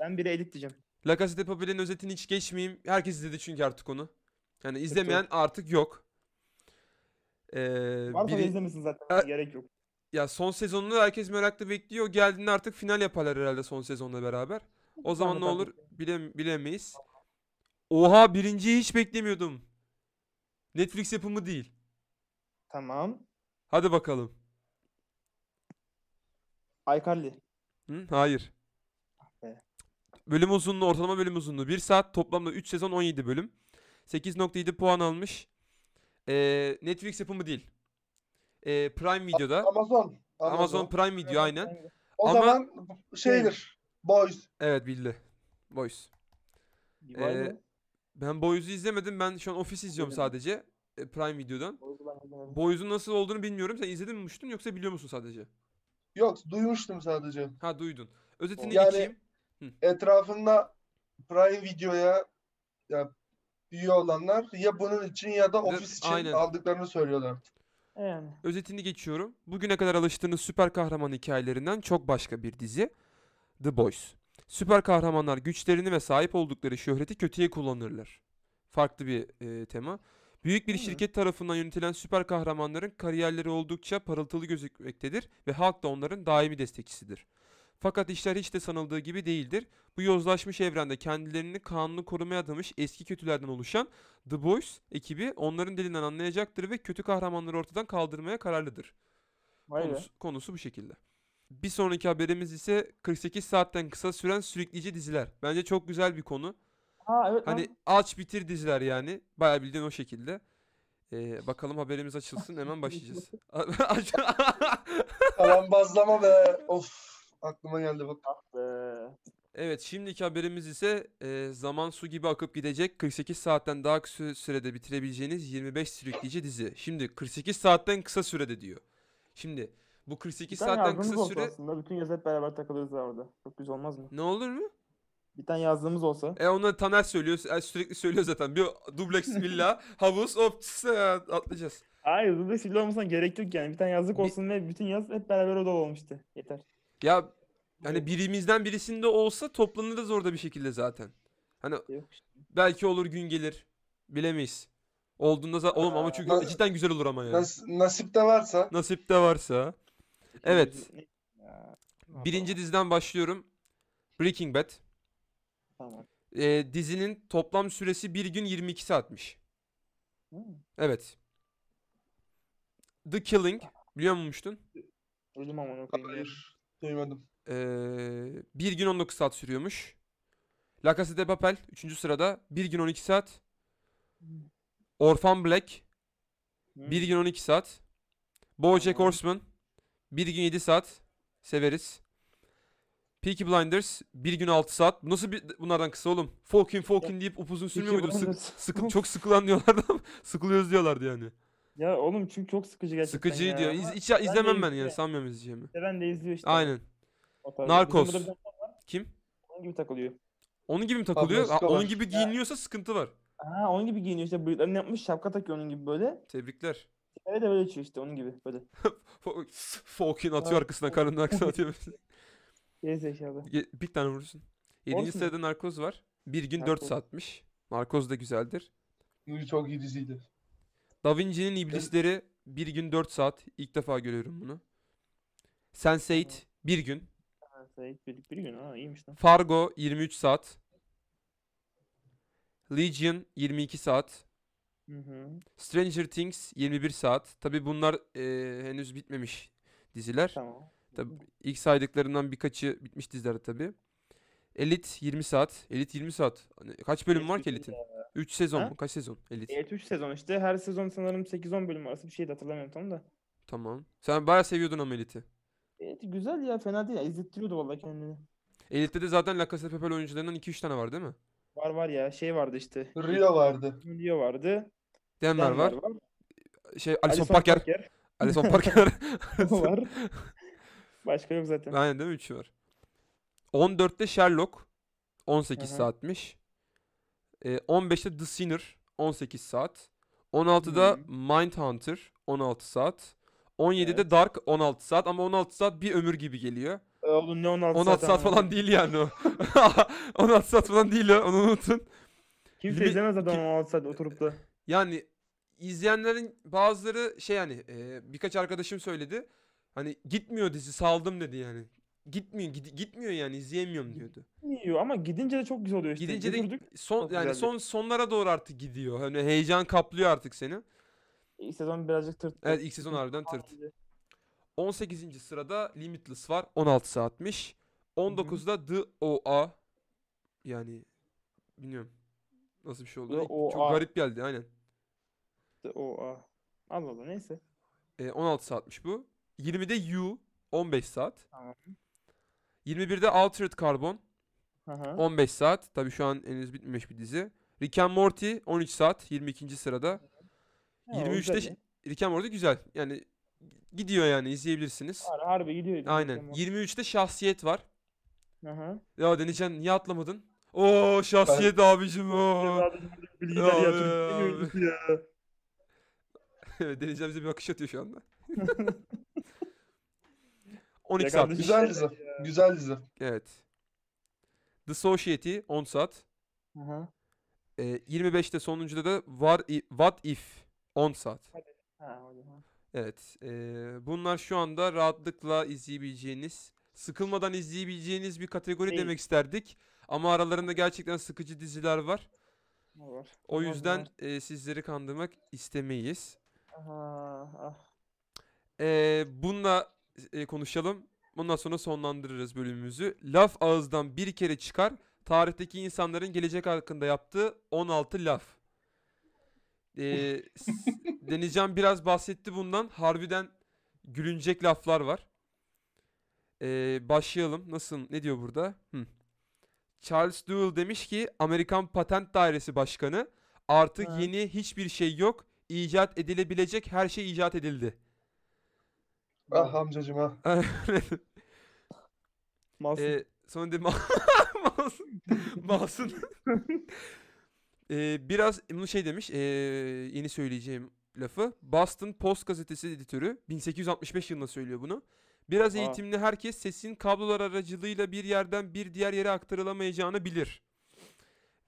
Ben biri edit diyeceğim.
La Casa de Papel'in özetini hiç geçmeyeyim. Herkes izledi çünkü artık onu. Yani
yok.
izlemeyen artık yok. Ee,
Varsa da
E, biri-
izlemesin zaten.
Ha-
Gerek yok.
ya son sezonunu herkes merakla bekliyor. Geldiğinde artık final yaparlar herhalde son sezonla beraber. O zaman ne
tahmin
olur bilem bilemeyiz. Oha birinciyi hiç beklemiyordum. Netflix yapımı değil.
Tamam.
Hadi bakalım.
Aykarli.
Hı? Hayır.
be.
Bölüm uzunluğu, ortalama bölüm uzunluğu 1 saat. Toplamda 3 sezon 17 bölüm. 8.7 puan almış. Ee, Netflix yapımı değil. Ee, Prime Video'da.
Amazon.
Amazon, Prime Video aynen.
O
Ama-
zaman şeydir. Boys.
Evet bildi. Boys.
Vay
Ee,
be.
Ben Boys'u izlemedim. Ben şu an Office izliyorum
İzlemedim.
sadece. e, Prime Video'dan.
Oldu lan, izlemedim.
Boys'un nasıl olduğunu bilmiyorum. Sen izledin mi Muştun yoksa biliyor musun sadece?
Yok duymuştum sadece.
Ha duydun. Özetini
Yani-
geçeyim.
Etrafında Prime Video'ya ya, üye olanlar ya bunun için ya da ofis için
aynen.
aldıklarını söylüyorlar.
E yani.
Özetini geçiyorum. Bugüne kadar alıştığınız süper kahraman hikayelerinden çok başka bir dizi. The Boys. Süper kahramanlar güçlerini ve sahip oldukları şöhreti kötüye kullanırlar. Farklı bir e, tema. Büyük bir
Değil mi?
şirket tarafından yönetilen süper kahramanların kariyerleri oldukça parıltılı gözükmektedir ve halk da onların daimi destekçisidir. Fakat işler hiç de sanıldığı gibi değildir. Bu yozlaşmış evrende kendilerini kanunu korumaya adamış eski kötülerden oluşan The Boys ekibi onların dilinden anlayacaktır ve kötü kahramanları ortadan kaldırmaya kararlıdır.
Vay be.
Konusu, konusu bu şekilde. Bir sonraki haberimiz ise 48 saatten kısa süren sürükleyici diziler. Bence çok güzel bir konu.
Ha evet
Hani
lan.
aç bitir diziler yani. Bayağı bildiğin o şekilde. Ee, bakalım haberimiz açılsın hemen
[LAUGHS]
başlayacağız. [LAUGHS] Aç-
Kalan bazlama be. Of aklıma geldi bak.
Ee,
evet şimdiki haberimiz ise e, zaman su gibi akıp gidecek 48 saatten daha kısa sürede bitirebileceğiniz 25 sürükleyici dizi. Şimdi 48 saatten kısa sürede diyor. Şimdi bu 48
bir tane
saatten
yazdığımız
kısa
olsa
süre
aslında. Bütün yaz hep beraber takılırız ya orada. Çok güzel olmaz mı?
ne olur mu?
Bir tane yazdığımız olsa.
E ona Taner söylüyor. sü- Sürekli söylüyor zaten. Bir
[LAUGHS]
dubleks villa, havuz, hop tss, atlayacağız.
Hayır hızlı sivil olmasına gerek yok yani. Bir tane yazlık
Bir-
olsun ve bütün yaz hep beraber oda olmuştu. Yeter.
Ya hani birimizden birisinde olsa toplanırız orada bir şekilde zaten. Hani
Şey Yok.
belki olur gün gelir. Bilemeyiz. Olduğunda za- oğlum ama
Aa,
çünkü
nasıl-
cidden güzel olur ama yani.
Nas- nasipte varsa
Nasipte varsa. Evet.
Ne- Ya, ne
Birinci
yapalım?
diziden başlıyorum. Breaking Bad.
Tamam.
Ee, dizinin toplam süresi 1 gün 22 saatmiş.
Hmm.
Evet. The Killing. Biliyor muymuştun?
Duydum amına koyayım. ya.
hayır duymadım.
Ee, 1 gün 19 saat sürüyormuş. La Casa de Papel 3. sırada 1 gün 12 saat. Orphan Black
Hmm.
1 gün 12 saat. BoJack
Tamam.
Horseman 1 gün 7 saat. Severiz. Peaky Blinders 1 gün 6 saat. Bu Nasıl bir bunlardan kısa oğlum? Falcon Falcon deyip upuzun sürmüyor muydu? Sık,
[LAUGHS] Blinders.
sıkı- çok sıkılan diyorlardı ama [LAUGHS] sıkılıyoruz diyorlardı yani.
Ya oğlum çünkü çok sıkıcı gerçekten
Sıkıcı
ya.
diyor.
Ama
İz, hiç- izlemem ben yani.
izliyorum.
Sanmıyorum izleyeceğimi.
seven de izliyor işte.
Aynen.
O tarz.
Narcos.
Bizim burada bir tane
Kim?
onun gibi takılıyor.
Onun gibi mi takılıyor? Ha,
Escobar.
onun gibi giyiniyorsa sıkıntı var.
Ha onun gibi giyiniyor işte bıyıklarını yapmış şapka takıyor onun gibi böyle.
Tebrikler.
Evet de böyle içiyor işte onun gibi böyle.
[LAUGHS] Fokin atıyor arkasına karnına aksın atıyor. [LAUGHS]
Gerizekalı.
Ye- Bir tane vurursun. 7.
Olsun.
sırada Narkoz var. Bir gün 4
Narkoz.
saatmiş. Narkoz da güzeldir.
Bu Çok iyi diziydi.
Da Vinci'nin iblisleri bir gün 4 saat. İlk defa görüyorum bunu. Sense8 bir gün.
Ha, Sait bir, bir gün ha iyiymiş lan.
Fargo 23 saat. Legion 22 saat.
Hı hı.
Stranger Things 21 saat. Tabi bunlar eee, henüz bitmemiş diziler.
Tamam.
Tabii ilk saydıklarından birkaçı bitmiş diziler tabi. Elite 20 saat. Elite 20 saat. Hani Kaç bölüm var ki
Eskiden
Elite'in? 3 sezon
Ha?
mu? Kaç sezon? Elite.
Evet 3 E sezon işte. Her sezon sanırım 8-10 bölüm arası bir şey de hatırlamıyorum tam da.
Tamam. Sen bayağı seviyordun ama Elite'i.
Evet E, güzel ya fena değil ya. İzlettiriyordu vallahi kendini.
Elite'de de zaten La Casa de Papel oyuncularından 2-3 tane var değil mi?
Var var ya şey vardı işte.
Rio vardı.
Julio vardı.
Denver var.
Denver var.
Şey Alison Parker. [LAUGHS] Alison Parker.
O var. Başka yok zaten.
Aynen değil mi? 3'ü var. 14'te Sherlock. 18
Aha.
saatmiş. Ee, 15'te The Sinner. 18 saat. 16'da Mindhunter. 16 saat. 17'de
Evet.
Dark 16 saat ama 16 saat bir ömür gibi geliyor.
Ee, Oğlum ne 16
16 saat
ama.
falan değil yani o. [LAUGHS] 16 saat falan değil o. Onu unutun.
Kimse
Limi-
izlemez adam
kim-
16 saat oturup da.
Yani izleyenlerin bazıları şey yani e, birkaç arkadaşım söyledi. Hani gitmiyor dizi saldım dedi yani. Gitmiyor gid- gitmiyor yani izleyemiyorum diyordu.
Yiyor ama gidince de çok güzel oluyor işte.
Gidince de
Götürdük.
son
çok
yani
güzeldi.
son sonlara doğru artık gidiyor. Hani heyecan kaplıyor artık seni.
İlk sezon birazcık tırttı.
Evet ilk sezon harbiden tırt. 18. sırada Limitless var. 16 saatmiş. 19'da The OA yani bilmiyorum nasıl bir şey oldu.
The
Çok
OA.
garip geldi aynen.
O ah. Allah Allah neyse.
E, 16 saatmiş bu. 20'de U 15 saat.
Tamam.
21'de Altered Carbon
Aha.
15 saat. Tabii şu an henüz bitmemiş bir dizi. Rick and Morty 13 saat 22. sırada.
Ha, o
23'te
güzel
ş-
ya.
Rick and Morty güzel. Yani gidiyor yani izleyebilirsiniz.
Har- Harbi gidiyor.
Aynen.
Tamam.
23'te şahsiyet var.
Aha.
Ya Denizcan niye atlamadın? Oo şahsiyet abicim o.
Bilgiler
Ya
ya.
be
çocuk ne
abi.
gördük ya.
[LAUGHS] Denizcan bize bir bakış atıyor şu
[LAUGHS]
anda. 12
Ya
saat.
kardeşim.
Güzel dizi. Güzel dizi.
Evet. The Society 10 saat.
Aha.
Ee, 25'te sonuncuda da Var I- What If 10 saat.
Ha, o zaman.
Evet. ee, bunlar şu anda rahatlıkla izleyebileceğiniz, sıkılmadan izleyebileceğiniz bir kategori
Değil.
demek isterdik. Ama aralarında gerçekten sıkıcı diziler var.
Ne var?
O
Var,
yüzden
var.
e, sizleri kandırmak istemeyiz.
Aha. Ah.
Ee, bununla e, konuşalım. Ondan sonra sonlandırırız bölümümüzü. Laf ağızdan bir kere çıkar. Tarihteki insanların gelecek hakkında yaptığı 16 laf. Ee, s- Denizcan biraz bahsetti bundan. Harbiden gülünecek laflar var. Ee, başlayalım. Nasıl? Ne diyor burada? Hı. Charles Duell demiş ki Amerikan Patent Dairesi Başkanı artık
Ha.
yeni hiçbir şey yok. İcat edilebilecek her şey icat edildi. [LAUGHS]
Ah amcacım ah.
Masum.
Ee, sonra de [LAUGHS] ma Masum. Masum. Ee, biraz bunu şey demiş. ee, yeni söyleyeceğim lafı. Boston Post gazetesi editörü 1865 yılında söylüyor bunu. Biraz
Aa.
eğitimli herkes sesin kablolar aracılığıyla bir yerden bir diğer yere aktarılamayacağını bilir.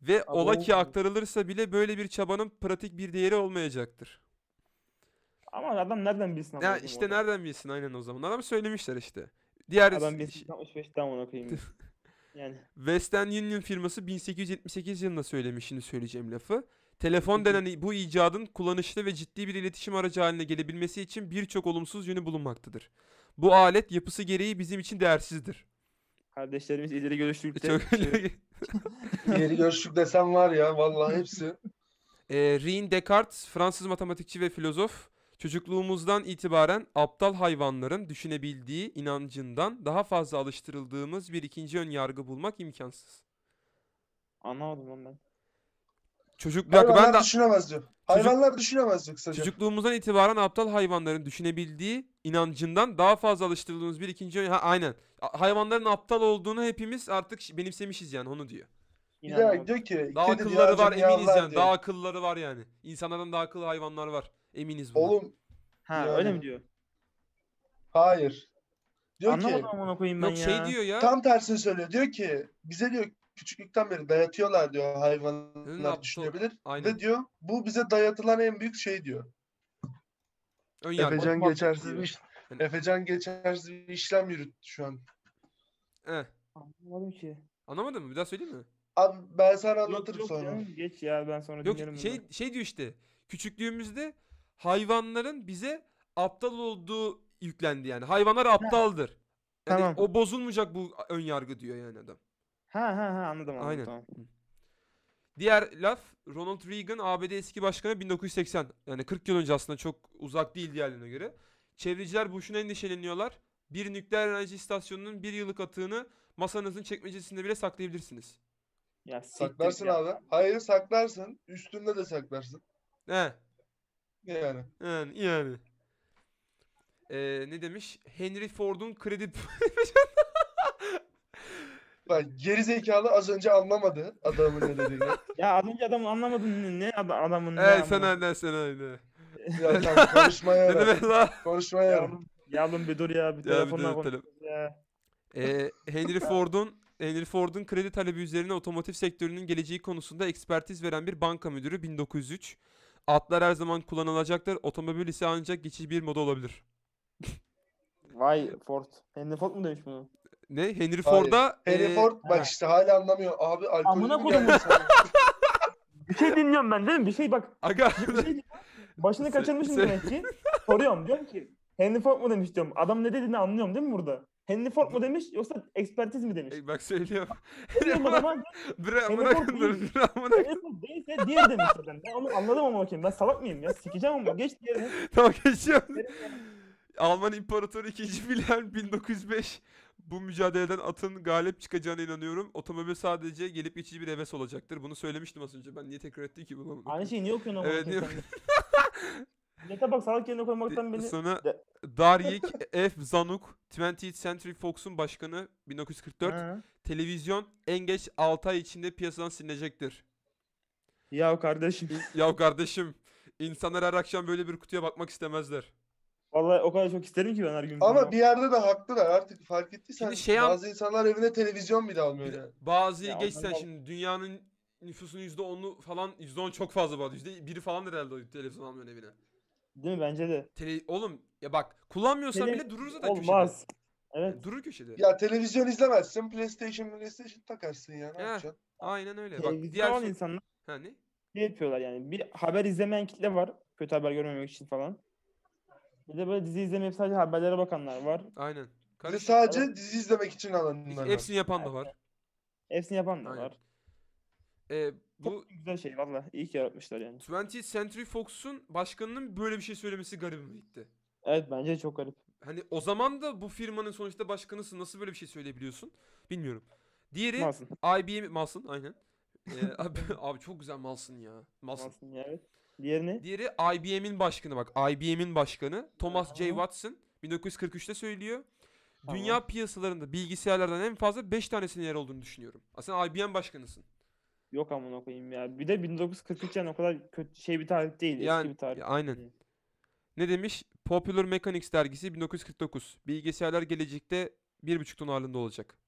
Ve
Aa,
ola ki
doğru.
aktarılırsa bile böyle bir çabanın pratik bir değeri olmayacaktır.
Ama adam nereden bilsin?
Ya
amına
işte
koyayım orada?
nereden bilsin aynen o zaman. Adam söylemişler işte. Diğer
Adam
s-
1865'ten
[LAUGHS]
ona koyayım. Yani.
Western Union firması 1878 yılında söylemiş şimdi söyleyeceğim lafı. Telefon denen bu icadın kullanışlı ve ciddi bir iletişim aracı haline gelebilmesi için birçok olumsuz yönü bulunmaktadır. Bu alet yapısı gereği bizim için değersizdir.
Kardeşlerimiz ileri şey- görüşlülükte.
Çok [LAUGHS]
Yeri görüşlük desem var ya vallahi hepsi.
e, René Descartes, Fransız matematikçi ve filozof, çocukluğumuzdan itibaren aptal hayvanların düşünebildiği inancından daha fazla alıştırıldığımız bir ikinci ön yargı bulmak imkansız.
Anlamadım lan ben.
Çocuk [LAUGHS] bir şey dakika,
Hayvanlar
ben de
düşünemez diyor. Hayvanlar düşünemez diyor kısaca.
Çocukluğumuzdan itibaren aptal hayvanların düşünebildiği inancından daha fazla alıştırıldığımız bir ikinci ön- ha, aynen. A- Hayvanların aptal olduğunu hepimiz artık ş- benimsemişiz yani onu
[LAUGHS]
diyor.
Bir
İnanmadım.
de diyor ki
Daha
kedi diyor
akılları var
acım
eminiz
yavlar
yani.
diyor.
Daha akılları var yani. İnsanlardan daha akıllı hayvanlar var. Eminiz buna.
Oğlum
Ha
Yani.
öyle mi diyor?
Hayır. Diyor
Anlamadım
ki
amına koyayım ben
Yok
ya.
şey diyor ya.
tam tersini söylüyor. Diyor ki bize diyor küçüklükten beri dayatıyorlar diyor
Hı,
hayvanlar
laptop.
düşünebilir.
Aynen.
Ve diyor bu bize dayatılan en büyük şey diyor.
Ön yargı.
Efecan
Batman
geçersiz
diyor.
bir Efecan geçersiz bir işlem yürüttü şu an.
Eh,
Anlamadım ki.
Anlamadın mı? Bir daha söyleyeyim mi?
Abi ben sana
Yok,
anlatırım
yok
sonra.
canım, Geç ya ben sonra
Yok
dinlerim.
şey
bunu.
şey diyor işte. Küçüklüğümüzde hayvanların bize aptal olduğu yüklendi yani. Hayvanlar aptaldır. Yani
Tamam.
o bozulmayacak bu ön yargı diyor yani adam.
Ha ha ha anladım anladım
Aynen.
tamam.
Diğer laf Ronald Reagan ABD eski başkanı 1980. Yani 40 yıl önce aslında çok uzak değil diğerlerine göre. Çevreciler boşuna endişeleniyorlar. Bir nükleer enerji istasyonunun bir yıllık atığını masanızın çekmecesinde bile saklayabilirsiniz.
Ya siktir
Saklarsın
ya.
abi. Hayır saklarsın. Üstünde de saklarsın.
He.
Yani.
Yani, yani. Ee, ne demiş? Henry Ford'un kredi...
Bak geri zekalı az önce anlamadı adamın ne
[LAUGHS]
dediğini.
Ya az önce adamı anlamadın ne- ne ad- adamın ne
evet
amına-
sen aynen sen aynen.
ya tamam konuşmaya
Ne
yarar.
demek lan?
Konuşmaya yarar.
Yavrum, yavrum bir dur ya
[LAUGHS] Ya bir
bir telefonla
dur,
konuş.
tele-
Ya.
Ee, Henry Ford'un Henry Ford'un kredi talebi üzerine otomotiv sektörünün geleceği konusunda ekspertiz veren bir banka müdürü 1903. Atlar her zaman kullanılacaktır. Otomobil ise ancak geçici bir moda olabilir.
Vay Ford. Henry Ford mu demiş bunu?
Ne? Henry Ford'a
Henry
ee,
Ford
ha.
bak işte hala anlamıyor. Abi alkol
Amına
mü
koydum.
geldi sana?
Bir şey dinliyorum ben değil mi? Bir şey bak.
aga [LAUGHS]
Bir şey Başını
Se-
kaçırmışım
se-
demek ki. Soruyorum diyorum ki Henry Ford mu demiş diyorum. Adam ne dediğini anlıyorum değil mi burada? Henry Ford mu demiş yoksa ekspertiz mi demiş?
Ey, bak söylüyorum. [LAUGHS]
Bilmiyorum
Bırak
adama Henry Ford
bırakın dur.
değil.
bırak, bırak.
Henry Ford değilse diğer demiş zaten. Ben onu anladım ama bakayım. Ben salak mıyım ya? Sikeceğim ama geç diğerini.
Tamam geçiyorum. Alman İmparatoru 2. Wilhelm 1905 bu mücadeleden atın galip çıkacağına inanıyorum. Otomobil sadece gelip geçici bir heves olacaktır. Bunu söylemiştim az önce. Ben niye tekrar ettim ki bunu?
Aynı şeyi niye okuyorsun ama?
Evet,
bakayım sen de? Millete bak salak yerine koymaktan beni...
Sonra
de- [LAUGHS]
Daryik F. Zanuk, 20th Century Fox'un başkanı 1944.
Ha.
Televizyon en geç 6 ay içinde piyasadan silinecektir.
Ya kardeşim. [LAUGHS]
Yav kardeşim insanlar her akşam böyle bir kutuya bakmak istemezler.
Vallahi o kadar çok isterim ki ben her gün.
Ama
bunu.
bir yerde de haklılar artık fark ettiysen
Şimdi şey an-
bazı insanlar evine televizyon bile almıyor.
Bir de
yani.
Bazı
Ya
geçsen
ondan-
şimdi dünyanın nüfusunun %10'u falan %10 çok fazla var. %1'i falan herhalde o televizyon almıyor evine.
Değil mi bence de.
Tele- oğlum ya bak kullanmıyorsan
Tele-
bile durur zaten
Olmaz. Evet.
köşede. Durur köşede.
Ya televizyon izlemezsin. PlayStation PlayStation takarsın ya. Ne
Heh.
yapacaksın?
Aynen öyle. Bak
Televizyon
diğer şey-
olan
so-
Şey, insanlar
Ha, ne?
ne yapıyorlar yani? Bir haber izlemeyen kitle var. Kötü haber görmemek için falan. Bir de böyle dizi izlemeyip sadece haberlere bakanlar var.
Aynen.
Bir de
Karışık.
sadece dizi izlemek için alanlar var.
Hepsini yapan da var.
Hepsini yapan da
Aynen.
var.
Ee,
Bu
bu
güzel şey valla. İyi ki yaratmışlar yani.
20th Century Fox'un başkanının böyle bir şey söylemesi garibime gitti.
Evet bence çok garip.
Hani o zaman da bu firmanın sonuçta başkanısın. Nasıl böyle bir şey söyleyebiliyorsun? Bilmiyorum. Diğeri
Masum.
IBM Malsın aynen. Ee, [LAUGHS] abi, abi çok güzel Malsın ya. Malsın.
Masum ya, evet. Diğerini
Diğeri IBM'in başkanı bak. IBM'in başkanı Thomas J.
Aha.
Watson 1943'te söylüyor. Dünya piyasalarında bilgisayarlardan en fazla 5 tanesinin yer olduğunu düşünüyorum. Aslında IBM başkanısın.
yok amına koyayım ya. Bir de 1943 yani o kadar kötü şey bir tarih değil.
Yani-
eski bir tarih.
ya aynen.
değil.
Ne demiş? Popular Mechanics dergisi 1949. Bilgisayarlar gelecekte 1,5 ton ağırlığında
[LAUGHS]
olacak.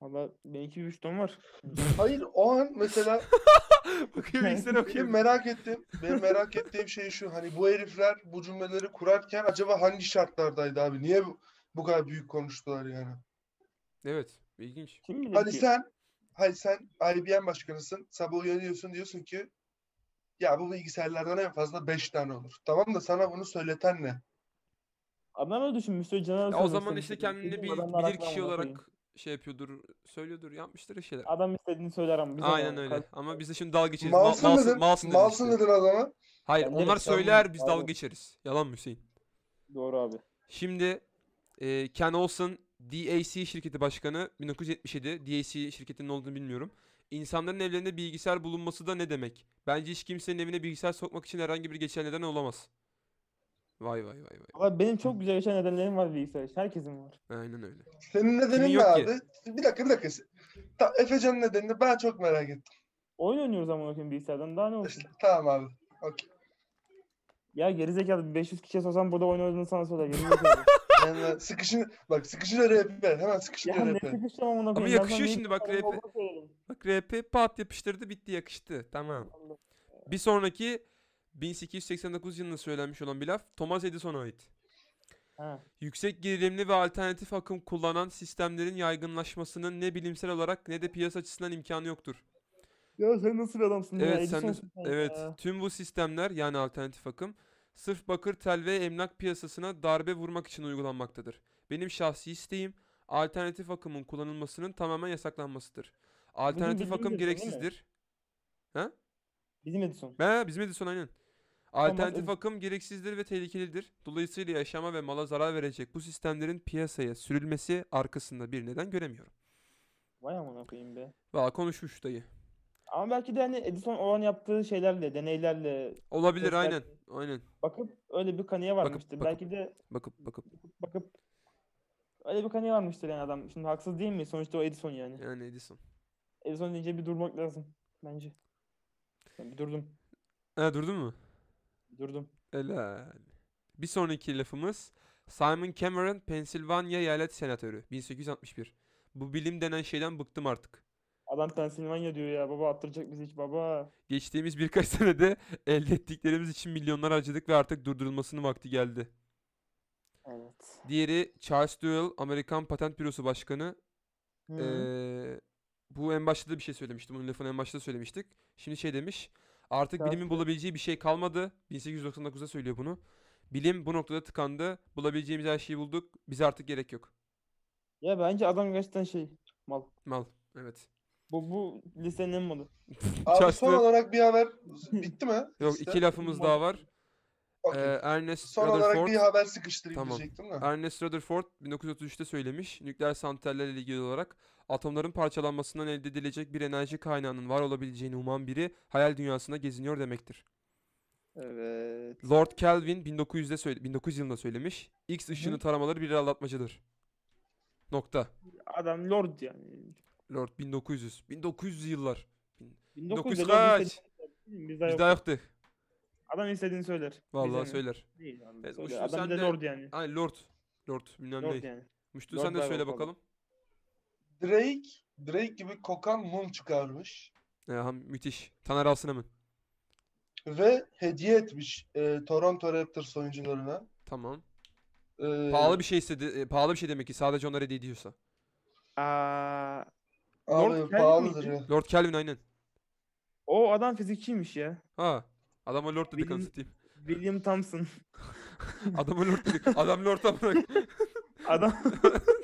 Valla benimki bir üç ton var.
Hayır o an
[LAUGHS]
mesela
Bakayım bilgisayara
benim
bakayım.
merak ettiğim, benim merak ettiğim şey şu. Hani bu herifler bu cümleleri kurarken acaba hangi şartlardaydı abi? Niye bu, bu kadar büyük konuştular yani?
Evet. ilginç.
Kim bilir
Hadi
ki?
Hani sen, hadi sen IBM başkanısın. Sabah uyanıyorsun diyorsun ki ya bu bilgisayarlardan en fazla 5 tane olur. Tamam da sana bunu söyleten ne?
Adam öyle düşünmüş. Söyle canavar
Ya o
söylemek
zaman
istemiş
işte
dedim.
kendini
Dedim,
bir,
adamlar
bilir
haklı
kişi
amına koyayım.
olarak şey yapıyordur, söylüyordur, yapmıştır bir şeyler.
Adam istediğini söyler ama bize ne
Aynen
yani?
öyle.
Kalk-
Ama biz de şimdi dalga geçeriz. Ma-
Malsın
malsın,
dedin.
malsın dedin
Malsın
işte.
dedin o zaman.
Hayır,
Ben de
onlar
evet,
söyler
tamam,
biz dalga
pardon.
geçeriz. Yalan mı Hüseyin?
Doğru abi.
Şimdi e, Ken Olsen DAC şirketi başkanı 1977 DAC şirketinin ne olduğunu bilmiyorum. İnsanların evlerinde bilgisayar bulunması da ne demek? Bence hiç kimsenin evine bilgisayar sokmak için herhangi bir geçerli neden olamaz. Vay vay vay vay.
Ama benim çok güzel yaşayan nedenlerim var bilgisayar için. Herkesin var.
Aynen öyle.
Senin nedenin
yok
ne
ki?
abi? Bir dakika bir dakika. Ta, Efecan'ın nedenini ben çok merak ettim.
Oyun oynuyoruz ama bakayım bilgisayardan daha ne olsun.
İşte, tamam abi. Okey.
Ya gerizekalı bir 500 kişiye sorsam burada oynadığını sana [LAUGHS] söyler. Gerizekalı.
Yani sıkışın bak sıkışın RP. Hemen sıkışın
ya ne
RP.
sıkıştım amına koyayım.
yakışıyor
Ben sana
şimdi
bir
bak
tane
rap.
baba koyarım.
Bak RP pat yapıştırdı bitti yakıştı. Tamam.
Allah.
Bir sonraki 1889 yılında söylenmiş olan bir laf Thomas Edison'a ait.
Ha.
Yüksek gerilimli ve alternatif akım kullanan sistemlerin yaygınlaşmasının ne bilimsel olarak ne de piyasa açısından imkanı yoktur.
[LAUGHS] Ya sen nasıl bir adamsın ya?
Evet sen de-
Edison'sun sen
evet
ya.
tüm bu sistemler yani alternatif akım sırf bakır tel ve emlak piyasasına darbe vurmak için uygulanmaktadır. Benim şahsi isteğim alternatif akımın kullanılmasının tamamen yasaklanmasıdır. Alternatif
bizim
akım
Edison değil mi?
gereksizdir.
Bizim Edison.
He bizim Edison aynen. Alternatif
Edison.
akım gereksizdir ve tehlikelidir. Dolayısıyla yaşama ve mala zarar verecek bu sistemlerin piyasaya sürülmesi arkasında bir neden göremiyorum.
Vay amına koyayım be.
Valla konuşmuş dayı.
Ama belki de hani Edison olan yaptığı şeylerle, deneylerle
Olabilir
Testler-
aynen. Aynen.
bakıp öyle bir kanıya varmıştır.
bakıp-
Belki de
Bakıp bakıp.
bakıp öyle bir kanıya varmıştır yani adam. Şimdi haksız değil mi? Sonuçta o Edison yani.
Yani Edison.
Edison deyince bir durmak lazım bence. Ben bir durdum.
He durdun mu?
bir durdum.
Helal. Bir sonraki lafımız Simon Cameron, Pensilvanya Eyalet Senatörü 1861. Bu bilim denen şeyden bıktım artık.
Adam Pensilvanya diyor ya. Baba attıracak bizi hiç baba.
Geçtiğimiz birkaç [LAUGHS] senede elde ettiklerimiz için milyonlar harcadık ve artık durdurulmasının vakti geldi.
Evet.
Diğeri Charles Duell, Amerikan Patent Bürosu Başkanı.
Hı.
Ee, bu en başta da bir şey söylemiştim. Bunun lafını en başta söylemiştik. Şimdi şey demiş. Artık
Charles
bilimin bulabileceği bir şey kalmadı. 1899'da söylüyor bunu. Bilim bu noktada tıkandı. Bulabileceğimiz her şeyi bulduk. Bize artık gerek yok.
Ya bence adam gerçekten şey mal.
Mal. Evet.
Bu, bu lisenin en malı.
Abi
Charles
son
Duell-
olarak bir haber bitti mi?
Yok
Liste?
iki lafımız daha var.
Okey.
Ee, Ernest
son olarak
Rutherford.
bir haber sıkıştırayım
Tamam.
diyecektim de.
Ernest Rutherford 1933'te söylemiş. Nükleer santrallerle ilgili olarak atomların parçalanmasından elde edilecek bir enerji kaynağının var olabileceğini uman biri hayal dünyasında geziniyor demektir.
Evet.
Lord Kelvin 1900'de söyle 1900 yılında söylemiş. X ışını taramaları bir aldatmacıdır. Nokta.
Adam lord yani.
Lord 1900. 1900 yıllar.
1900
kaç?
Biz
Bir daha yoktu.
Adam istediğini söyler.
Vallahi
Bize mi?
söyler.
Değil abi.
Evet,
söyle.
Uçtu,
Adam
sen
bir de
de-
lord yani.
Ay Lord. Lord bilmem
Lord
ne.
yani.
Müştü
Lord
sen de
ver
söyle
bakalım.
bakalım.
Drake, Drake gibi kokan mum çıkarmış
Ee, müthiş. Taner Alsın hemen.
ve hediye etmiş e, Toronto Raptors oyuncularına.
Tamam.
Ee,
E,
Pahalı bir şey istedi. e, pahalı bir şey demek ki sadece onlara hediye ediyorsa.
Aa,
şey
abi
Lord Kelvin
pahalıdır
miydi?
ya.
Lord Kelvin aynen.
o adam fizikçiymiş ya.
Ha. Adama Lord dedik
Benim-
anasını satayım.
William Thompson.
Adama Lord dedik. Adam Lord'a
[LAUGHS]
bırak.
Adam [LAUGHS]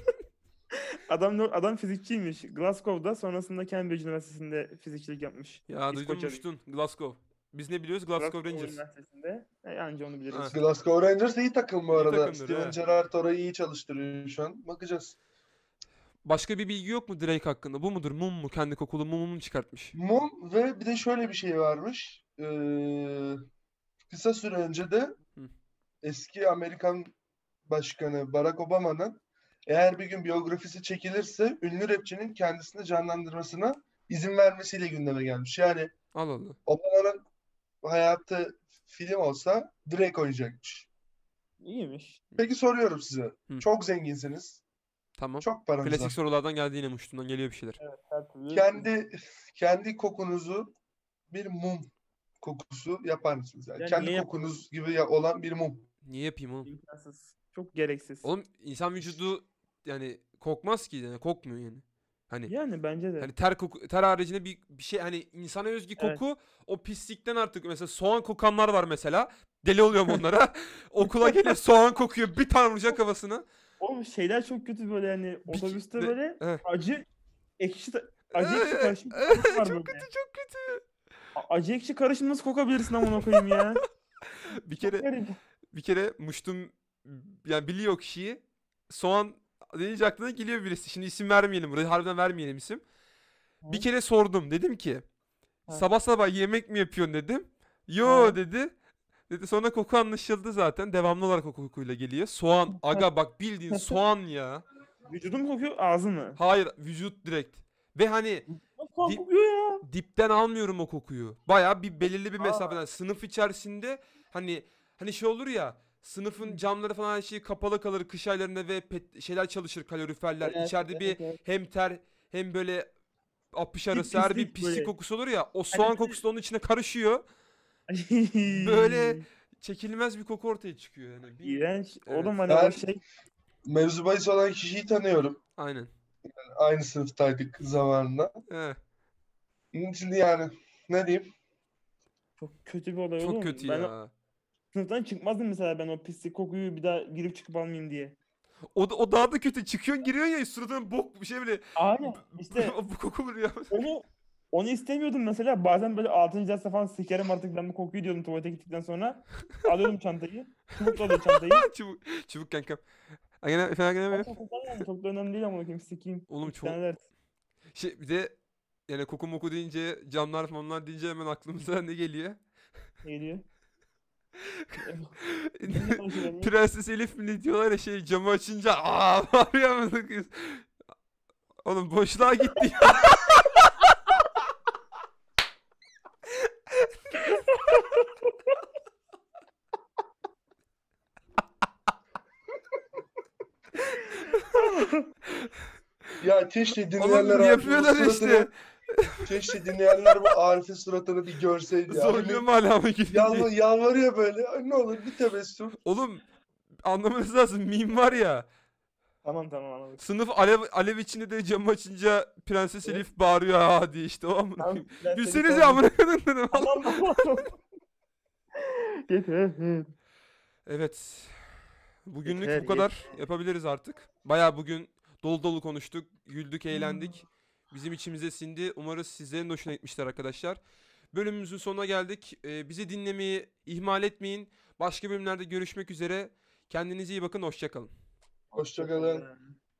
Adam lord- adam fizikçiymiş. Glasgow'da sonrasında Cambridge Üniversitesi'nde fizikçilik yapmış.
Ya duydun mu
İskoçya'da.
uçtun. Glasgow. Biz ne biliyoruz? Glasgow Rangers.
Üniversitesi'nde. E, anca onu biliriz.
Ha.
Glasgow Rangers iyi takım bu
İyi
arada.
takımdır,
Steven
he.
Gerrard orayı iyi çalıştırıyor şu an. Bakacağız.
Başka bir bilgi yok mu Drake hakkında? Bu mudur? Mum mu? Kendi kokulu mumunu çıkartmış.
Mum ve bir de şöyle bir şey varmış. E, kısa süre önce de
Hı.
eski Amerikan Başkanı Barack Obama'nın eğer bir gün biyografisi çekilirse ünlü rapçinin kendisini canlandırmasına izin vermesiyle gündeme gelmiş. Yani
Al Allah.
Obama'nın hayatı film olsa Drake oynayacakmış.
İyiymiş.
Peki soruyorum size.
Hı.
Çok zenginsiniz.
Tamam.
Çok paranız
Klasik
var.
sorulardan geldi yine Muştun'dan geliyor bir şeyler.
Her türlü-
Kendi kendi kokunuzu bir mum kokusu yapar mısınız? Yani
Yani
kendi
niye
kokunuz gibi ya- olan bir mum.
Niye yapayım oğlum?
imkansız. Çok gereksiz.
Oğlum insan vücudu yani kokmaz ki yani kokmuyor yani. Hani
Yani bence de.
hani ter koku ter haricinde bir, bir şey hani insana özgü
Evet.
koku o pislikten artık mesela soğan kokanlar var mesela. Deli oluyorum
[LAUGHS]
onlara. Okula geliyor soğan kokuyor bir tane vuracak kafasına.
Oğlum şeyler çok kötü böyle yani
Bir-
otobüste
ve-
böyle
Evet.
acı ekşi ta- acı ekşi
Evet,
karışım
evet,
kokusu
[LAUGHS]
var
çok
böyle.
kötü çok kötü.
A- Acı ekşi karışım nasıl kokabilirsin amına koyayım ya?
[LAUGHS] Bir kere
Garip.
bir kere Muştum yani biliyor kişiyi. Soğan deyince aklına geliyor birisi. Şimdi isim vermeyelim buraya. Harbiden vermeyelim isim. Bir
Hı.
kere sordum. Dedim ki
Ha.
sabah sabah yemek mi yapıyorsun dedim. Yo
Ha.
dedi. Dedi sonra koku anlaşıldı zaten. Devamlı olarak o kokuyla geliyor. Soğan. Aga bak bildiğin soğan ya.
Vücudum kokuyor ağzın mı?
Hayır vücut direkt. Ve hani
Nasıl
Di-
kokuyor ya?
dipten almıyorum o kokuyu. Baya bir belirli bir mesafeden. Sınıf içerisinde hani Hani şey olur ya sınıfın camları falan her şeyi kapalı kalır kış aylarında ve pet- şeyler çalışır kaloriferler. içeride
Evet,
İçeride bir
evet, evet.
hem ter hem böyle apış arası her bir
pislik
pislik
böyle. Hani
kokusu olur ya. O soğan kokusu da onun içine karışıyor. Böyle- Çekilmez bir koku ortaya çıkıyor yani. Bilmiyorum.
İğrenç.
Evet.
Oğlum hani
Ben-
o şey.
Mevzu bahis olan kişiyi tanıyorum.
Aynen. Eh,
Aynı sınıftaydık zamanında.
He.
Şimdi yani ne diyeyim?
Çok kötü bir olay oğlum.
Çok kötü
Şey ben o-
ya.
sınıftan çıkmazdım mesela ben o pislik kokuyu bir daha girip çıkıp almayayım diye.
O, da- o daha da kötü. Çıkıyorsun giriyorsun ya suratına bok bir şey bile. [LAUGHS]
Aynen. İşte
bu koku vuruyor.
onu onu istemiyordum mesela. Bazen böyle 6. derste falan sikerim artık ben bu kokuyu diyordum tuvalete
[LAUGHS]
gittikten sonra. Alıyordum çantayı. Çubukla alıyordum çantayı.
[LAUGHS] çubuk, çubuk kankam. Aynen efendim aynen,
Ama
aynen.
Çok da- çok da önemli değil ama bakayım sikeyim.
Oğlum
İki
çok-
tane ders.
Şey, bir de yani koku moku deyince camlar falanlar deyince hemen aklımıza ne
[LAUGHS]
geliyor? [LAUGHS]
Ne diyor? Ne konuşuyor lan?
Prenses Elif mi ne diyorlar ya şey camı açınca aa bağırıyor amına koyayım. Oğlum boşluğa
[LAUGHS]
gitti ya.
Ya keşke dinleyenler
Oğlum
Arif'in
yapıyorlar işte.
suratını, keşke dinleyenler bu Arif'in suratını bir görseydi ya.
Zorluyorum hala mı
Yalvar, yalvarıyor böyle. Ay Ne olur bir tebessüm.
Oğlum anlamanız lazım meme var ya.
Tamam
[LAUGHS]
tamam anladım.
Sınıf alev, alev içinde de camı açınca Prenses
Evet.
Elif bağırıyor ha diye işte o amına
Tamam,
koyayım.
ben seni
Gülsenize
tamam-
amına koyayım dedim.
Tamam tamam. [LAUGHS] Yeter. evet.
Evet. Bugünlük
Yeter,
bu kadar. Yapabiliriz artık. Baya bugün dolu dolu konuştuk. Güldük, eğlendik. Bizim içimize sindi. Umarız sizlerin de hoşuna gitmiştir arkadaşlar. Bölümümüzün sonuna geldik. Ee, bizi dinlemeyi ihmal etmeyin. Başka bölümlerde görüşmek üzere. Kendinize iyi bakın. Hoşçakalın.
Hoşçakalın.
Ee,